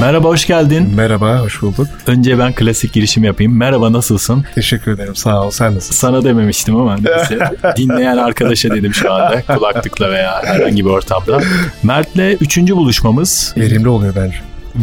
Merhaba hoş geldin. Merhaba, hoş bulduk. Önce ben klasik girişim yapayım. Merhaba nasılsın? Teşekkür ederim, sağ ol. Sen nasılsın? Sana dememiştim ama neyse. Dinleyen arkadaşa dedim şu anda. Kulaklıkla veya herhangi bir ortamda. Mert'le üçüncü buluşmamız. e, Verimli oluyor bence.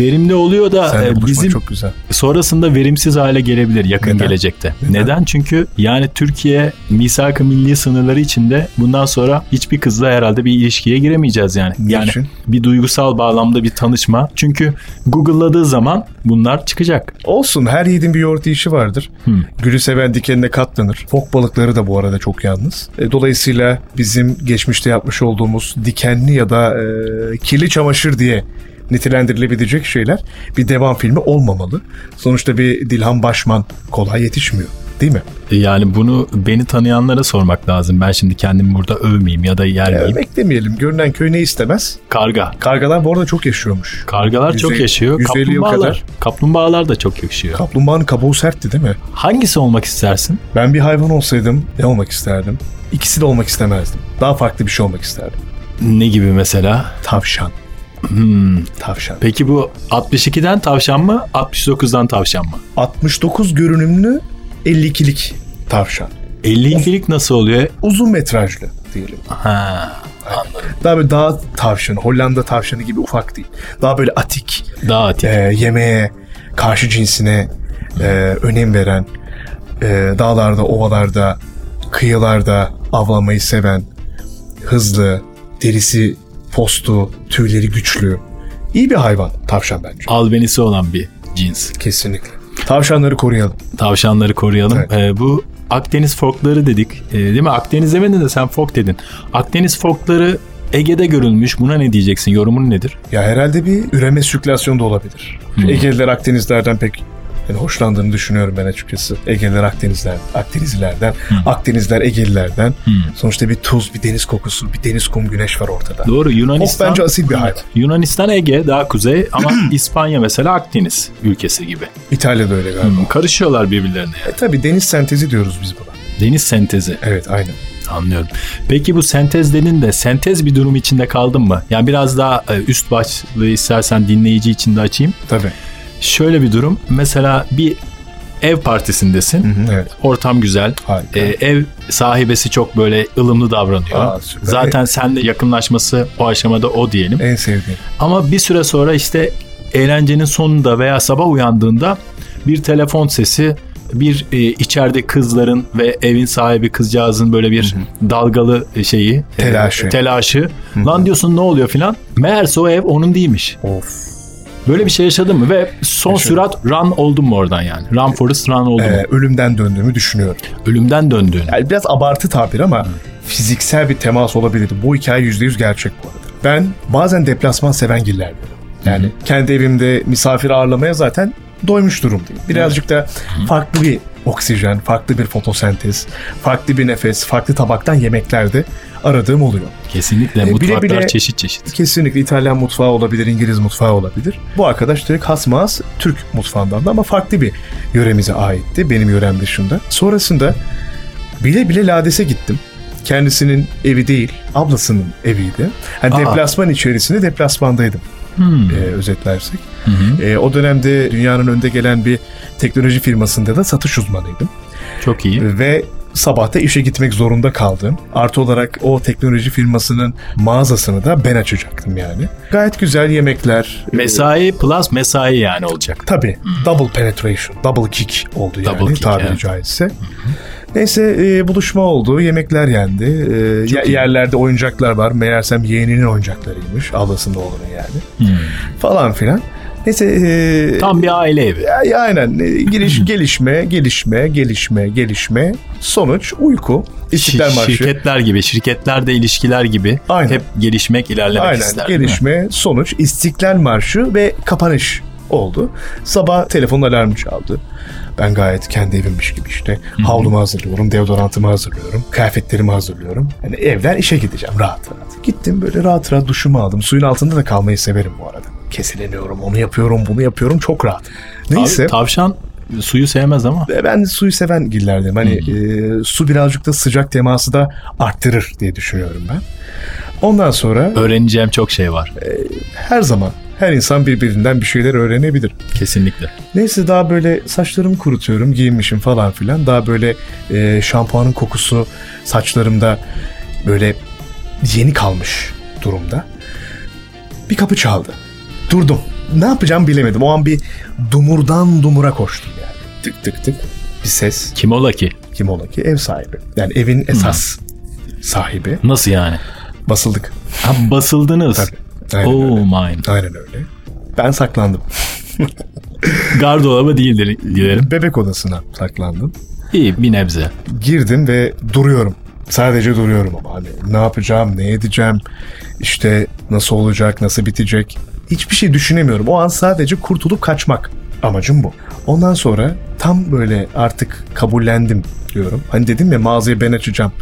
Verimli oluyor da Sen e, bizim çok güzel. sonrasında verimsiz hale gelebilir yakın Neden? gelecekte. Neden? Neden? Çünkü yani Türkiye misak-ı milli sınırları içinde bundan sonra hiçbir kızla herhalde bir ilişkiye giremeyeceğiz yani. Niçin? Yani bir duygusal bağlamda bir tanışma. Çünkü Google'ladığı zaman bunlar çıkacak. Olsun, her yiğidin bir yoğurt işi vardır. Hmm. Gülü seven dikenine katlanır. Fok balıkları da bu arada çok yalnız. E, Dolayısıyla bizim geçmişte yapmış olduğumuz dikenli ya da e, kirli çamaşır diye nitelendirilebilecek şeyler bir devam filmi olmamalı. Sonuçta bir Dilhan Başman kolay yetişmiyor değil mi? Yani bunu beni tanıyanlara sormak lazım. Ben şimdi kendimi burada övmeyeyim ya da yermeyeyim. Örnek demeyelim. Görünen köy ne istemez? Karga. Kargalar bu arada çok yaşıyormuş. Kargalar Yüz- çok yaşıyor. 150 yıl Kaplumbağalar. kadar. Kaplumbağalar da çok yaşıyor. Kaplumbağanın kabuğu sertti değil mi? Hangisi olmak istersin? Ben bir hayvan olsaydım ne olmak isterdim? İkisi de olmak istemezdim. Daha farklı bir şey olmak isterdim. Ne gibi mesela? Tavşan. Tavşan. Peki bu 62'den tavşan mı? 69'dan tavşan mı? 69 görünümlü 52'lik tavşan. 52'lik nasıl oluyor? Uzun metrajlı diyelim. Ah. Ha, Daha böyle dağ tavşanı, Hollanda tavşanı gibi ufak değil. Daha böyle atik, daha atik. e, yemeğe, karşı cinsine e, önem veren, e, dağlarda, ovalarda, kıyılarda avlanmayı seven, hızlı, derisi postu, tüyleri güçlü. İyi bir hayvan tavşan bence. Albenisi olan bir cins. Kesinlikle. Tavşanları koruyalım. Tavşanları koruyalım. Evet. Ee, bu Akdeniz forkları dedik. Ee, değil mi? Akdeniz demedin de sen fork dedin. Akdeniz forkları Ege'de görülmüş. Buna ne diyeceksin? Yorumun nedir? Ya herhalde bir üreme sirkülasyonu da olabilir. Egeliler Akdenizlerden pek yani hoşlandığını düşünüyorum ben açıkçası. Egeliler Akdenizler, Akdenizlilerden, Akdenizler Egelilerden. Sonuçta bir tuz, bir deniz kokusu, bir deniz kum güneş var ortada. Doğru Of Yunanistan. bence asil bir hayvan. Yunanistan Ege daha kuzey ama İspanya mesela Akdeniz ülkesi gibi. İtalya'da öyle galiba. Karışıyorlar birbirlerine. E tabi deniz sentezi diyoruz biz buna. Deniz sentezi. Evet aynen. Anlıyorum. Peki bu sentezlerin de sentez bir durum içinde kaldın mı? Yani biraz daha e, üst başlığı istersen dinleyici için de açayım. Tabi. Şöyle bir durum. Mesela bir ev partisindesin. Evet. Ortam güzel. Harika. E, ev sahibesi çok böyle ılımlı davranıyor. Aa, süper. Zaten seninle yakınlaşması o aşamada o diyelim. En sevdiğim. Ama bir süre sonra işte eğlencenin sonunda veya sabah uyandığında bir telefon sesi, bir e, içeride kızların ve evin sahibi kızcağızın böyle bir dalgalı şeyi, e, Telaşı. telaşı. Lan diyorsun ne oluyor filan. Meğerse o ev onun değilmiş. Of. Böyle bir şey yaşadın mı ve son Yaşadım. sürat run oldun mu oradan yani? Run forest run oldun E, mu? ölümden döndüğümü düşünüyorum. Ölümden döndün. Yani biraz abartı tabir ama fiziksel bir temas olabilir. Bu hikaye %100 gerçek bu arada. Ben bazen deplasman seven gillerdim. Yani kendi evimde misafir ağırlamaya zaten doymuş durumdayım. Birazcık da farklı bir oksijen, farklı bir fotosentez, farklı bir nefes, farklı tabaktan yemeklerde aradığım oluyor. Kesinlikle e, bile mutfaklar bile- çeşit çeşit. Kesinlikle İtalyan mutfağı olabilir, İngiliz mutfağı olabilir. Bu arkadaş direkt hasmaz Türk mutfağından da ama farklı bir yöremize aitti benim yörem dışında. Sonrasında bile bile Lades'e gittim. Kendisinin evi değil, ablasının eviydi. Hani Aa. deplasman içerisinde deplasmandaydım. Hmm. e, özetlersek. E, o dönemde dünyanın önde gelen bir teknoloji firmasında da satış uzmanıydım Çok iyi. ve sabahta işe gitmek zorunda kaldım. Artı olarak o teknoloji firmasının mağazasını da ben açacaktım yani. Gayet güzel yemekler. Mesai plus mesai yani olacak. Tabii double penetration, double kick oldu yani Double kick, tabiri evet. caizse. Neyse e, buluşma oldu, yemekler yendi. E, ye- yerlerde oyuncaklar var. Meğersem yeğeninin oyuncaklarıymış. Ablasının oğlunun yani. Falan filan. Neyse e, Tam bir aile evi. ya, ya aynen. E, Giriş, gelişme, gelişme, gelişme, gelişme. Sonuç uyku. İstiklal Şi- Marşı. Şirketler gibi, şirketlerde ilişkiler gibi Aynen. hep gelişmek, ilerlemek aynen. ister. değil mi? Gelişme, sonuç, İstiklal Marşı ve kapanış oldu. Sabah telefonun alarmı çaldı. Ben gayet kendi evimmiş gibi işte. Havlumu hazırlıyorum, deodorantımı hazırlıyorum, kıyafetlerimi hazırlıyorum. Yani evden işe gideceğim rahat rahat. Gittim böyle rahat rahat duşumu aldım. Suyun altında da kalmayı severim bu arada. Kesileniyorum, onu yapıyorum, bunu yapıyorum. Çok rahat. Abi, Neyse. tavşan suyu sevmez ama. E, Ben suyu seven gillerdim. Hani e, su birazcık da sıcak teması da arttırır diye düşünüyorum ben. Ondan sonra Öğreneceğim çok şey var. her zaman her insan birbirinden bir şeyler öğrenebilir. Kesinlikle. Neyse daha böyle saçlarımı kurutuyorum, giyinmişim falan filan. Daha böyle e, şampuanın kokusu saçlarımda böyle yeni kalmış durumda. Bir kapı çaldı. Durdum. Ne yapacağım bilemedim. O an bir dumurdan dumura koştum yani. Tık tık tık. Bir ses. Kim ola ki? Kim ola ki? Ev sahibi. Yani evin esas sahibi. Nasıl yani? Basıldık. Ha, basıldınız. Tabii. Aynen oh öyle. my. Aynen öyle. Ben saklandım. Gardıroba değildir dilerim. Bebek odasına saklandım. İyi bir nebze. girdim ve duruyorum. Sadece duruyorum ama hani ne yapacağım, ne edeceğim, işte nasıl olacak, nasıl bitecek. Hiçbir şey düşünemiyorum. O an sadece kurtulup kaçmak. Amacım bu. Ondan sonra tam böyle artık kabullendim diyorum. Hani dedim ya mağazayı ben açacağım.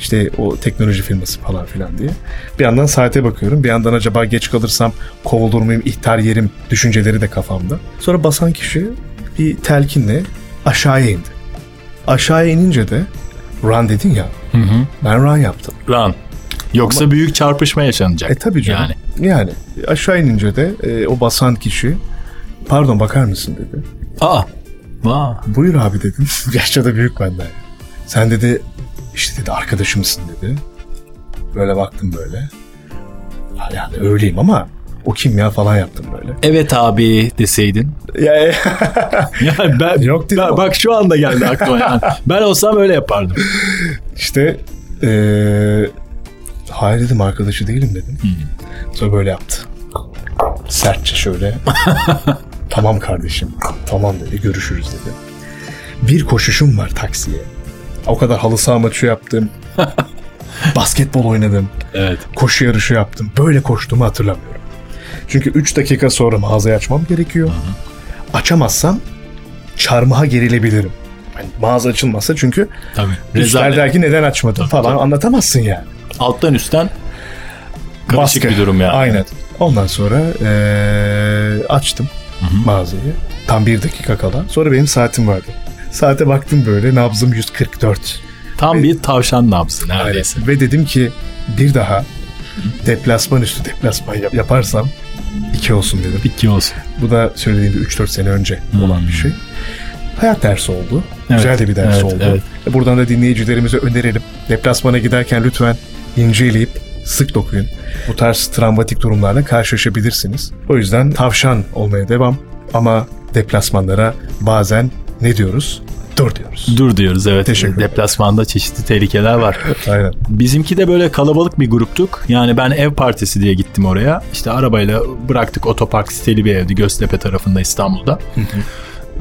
İşte o teknoloji firması falan filan diye. Bir yandan saate bakıyorum. Bir yandan acaba geç kalırsam kovulur muyum, ihtar yerim düşünceleri de kafamda. Sonra basan kişi bir telkinle aşağıya indi. Aşağıya inince de run dedin ya. Ben run yaptım. Lan. Yoksa büyük çarpışma yaşanacak. E tabii canım. Yani. Yani. aşağı inince de e, o basan kişi pardon bakar mısın dedi. Aa. Vaa. Buyur abi dedim. Yaşça da büyük benden. Sen dedi işte dedi arkadaşımsın dedi. Böyle baktım böyle. Yani öyleyim ama o kim ya falan yaptım böyle. Evet abi deseydin. Ya, e, Yani ben, Yok dedim ben- ama. bak şu anda geldi aklıma. yani. Ben olsam öyle yapardım. İşte eee hayır dedim arkadaşı değilim dedim. Sonra böyle yaptı. Sertçe şöyle. tamam kardeşim. Tamam dedi. Görüşürüz dedi. Bir koşuşum var taksiye. O kadar halı saha maçı yaptım. Basketbol oynadım. Evet. Koşu yarışı yaptım. Böyle koştuğumu hatırlamıyorum. Çünkü 3 dakika sonra mağazayı açmam gerekiyor. Açamazsam çarmıha gerilebilirim. Hani mağaza açılmazsa çünkü Tabii. Üstler Rezalet. der ki neden açmadın falan anlatamazsın yani. Alttan üstten karışık Baskı. bir durum yani. Aynen. Ondan sonra eee, açtım mağazayı. Tam bir dakika kala. Sonra benim saatim vardı. Saate baktım böyle nabzım 144. Tam bir tavşan nabzı neredeyse. Ve dedim ki bir daha deplasman üstü deplasman yap- yaparsam iki olsun dedim. İki olsun. Bu da söylediğimde 3-4 sene önce olan bir şey. Hayat dersi oldu. Hmm. Evet, Güzel de bir ders evet, oldu. E, evet. Buradan da dinleyicilerimize önerelim. Deplasmana giderken lütfen inceleyip sık dokuyun. Bu tarz travmatik durumlarla karşılaşabilirsiniz. O yüzden tavşan olmaya devam ama deplasmanlara bazen ne diyoruz? Dur diyoruz. Dur diyoruz evet. Teşekkür ederim. Deplasmanda çeşitli tehlikeler var. Aynen. Bizimki de böyle kalabalık bir gruptuk. Yani ben ev partisi diye gittim oraya. İşte arabayla bıraktık otopark siteli bir evdi Göztepe tarafında İstanbul'da.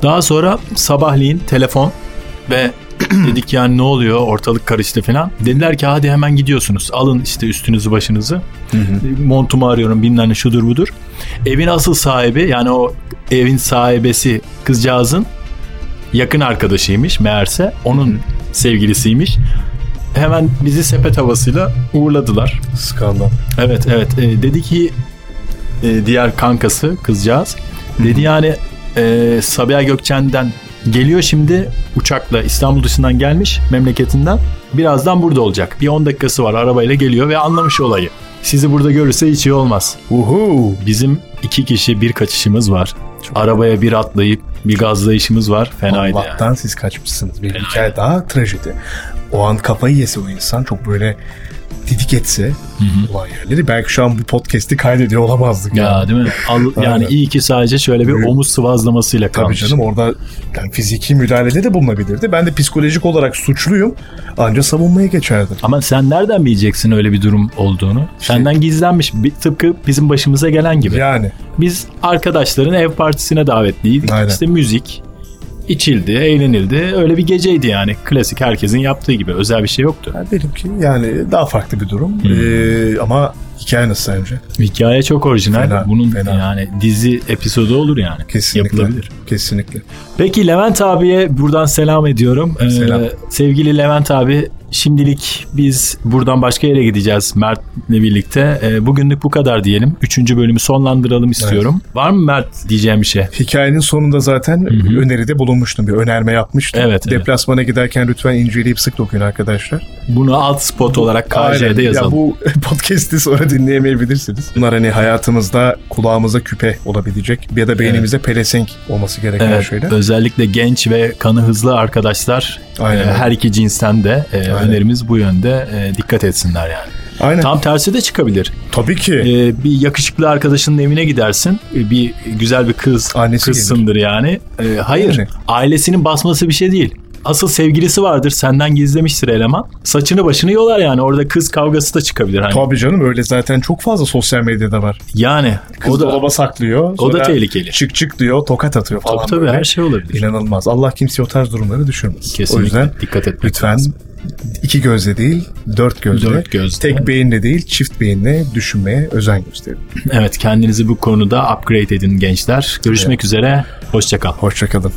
Daha sonra sabahleyin telefon ve dedik yani ne oluyor ortalık karıştı falan. Dediler ki hadi hemen gidiyorsunuz. Alın işte üstünüzü başınızı. Montumu arıyorum bilmem ne şudur budur. Evin asıl sahibi yani o evin sahibesi kızcağızın yakın arkadaşıymış meğerse. Onun sevgilisiymiş. Hemen bizi sepet havasıyla uğurladılar. Skandal. Evet evet E, dedi ki e, diğer kankası kızcağız dedi yani e, Sabiha Gökçen'den geliyor şimdi uçakla İstanbul dışından gelmiş memleketinden birazdan burada olacak bir 10 dakikası var arabayla geliyor ve anlamış olayı sizi burada görürse hiç iyi olmaz Uhu. bizim iki kişi bir kaçışımız var arabaya bir atlayıp bir gazlayışımız var fenaydı yani. Allah'tan siz kaçmışsınız. Bir hikaye daha trajedi. O an kafayı yese o insan çok böyle didik etse olan yerleri belki şu an bu podcast'i kaydediyor olamazdık. ya değil mi? Al- yani Aynen. iyi ki sadece şöyle bir Büyük- omuz sıvazlamasıyla Tabii kalmış. canım orada yani fiziki müdahalede de bulunabilirdi. Ben de psikolojik olarak suçluyum. Anca savunmaya geçerdim. Ama sen nereden bileceksin öyle bir durum olduğunu? Şey- Senden gizlenmiş. Bir- Tıpkı bizim başımıza gelen gibi. Yani Biz arkadaşların ev partisine davetliydik. Aynen. İşte müzik içildi, eğlenildi. Öyle bir geceydi yani. Klasik herkesin yaptığı gibi. Özel bir şey yoktu. ben dedim ki yani daha farklı bir durum. Ee, ama hikaye nasıl sence? Hikaye çok orijinal. Fena, Bunun fena. yani dizi episodu olur yani. Kesinlikle. Yapılabilir. Kesinlikle. Peki Levent abiye buradan selam ediyorum. Ee, Selam. sevgili Levent abi Şimdilik biz buradan başka yere gideceğiz Mert'le birlikte. E, bugünlük bu kadar diyelim. Üçüncü bölümü sonlandıralım istiyorum. Var mı Mert diyeceğim bir şey? Hikayenin sonunda zaten öneride bulunmuştum. Bir önerme yapmıştım. Evet, evet. Deplasmana giderken lütfen inceleyip sık dokuyun arkadaşlar. Bunu alt spot olarak Aynen. KJ'de Ya yazalım. bu podcast'i sonra dinleyemeyebilirsiniz. Bunlar hani hayatımızda kulağımıza küpe olabilecek ya da beynimize pelesenk olması gereken Evet, şeyler. özellikle genç ve kanı hızlı arkadaşlar Aynen. e, her iki cinsten de e, önerimiz bu yönde E, dikkat etsinler yani. Aynen. Tam tersi de çıkabilir. Tabii ki. E, bir yakışıklı arkadaşının evine gidersin. E, bir güzel bir kız Annesi kızsındır yani. E, hayır. Yani. Ailesinin basması bir şey değil. Asıl sevgilisi vardır. Senden gizlemiştir eleman. Saçını başını yolar yani. Orada kız kavgası da çıkabilir. Hani. Tabii canım öyle zaten çok fazla sosyal medyada var. Yani. Kız o da, dolaba saklıyor. o da sonra tehlikeli. Çık çık diyor tokat atıyor falan Tabii tabii böyle. her şey olabilir. İnanılmaz. Allah kimseye o tarz durumları düşürmesin. Kesinlikle O yüzden dikkat etmek lütfen iki gözle değil dört gözle, Dört gözle. tek beyinle değil çift beyinle düşünmeye özen gösterin. Evet kendinizi bu konuda upgrade edin gençler. Görüşmek üzere. Hoşçakal. Hoşçakalın.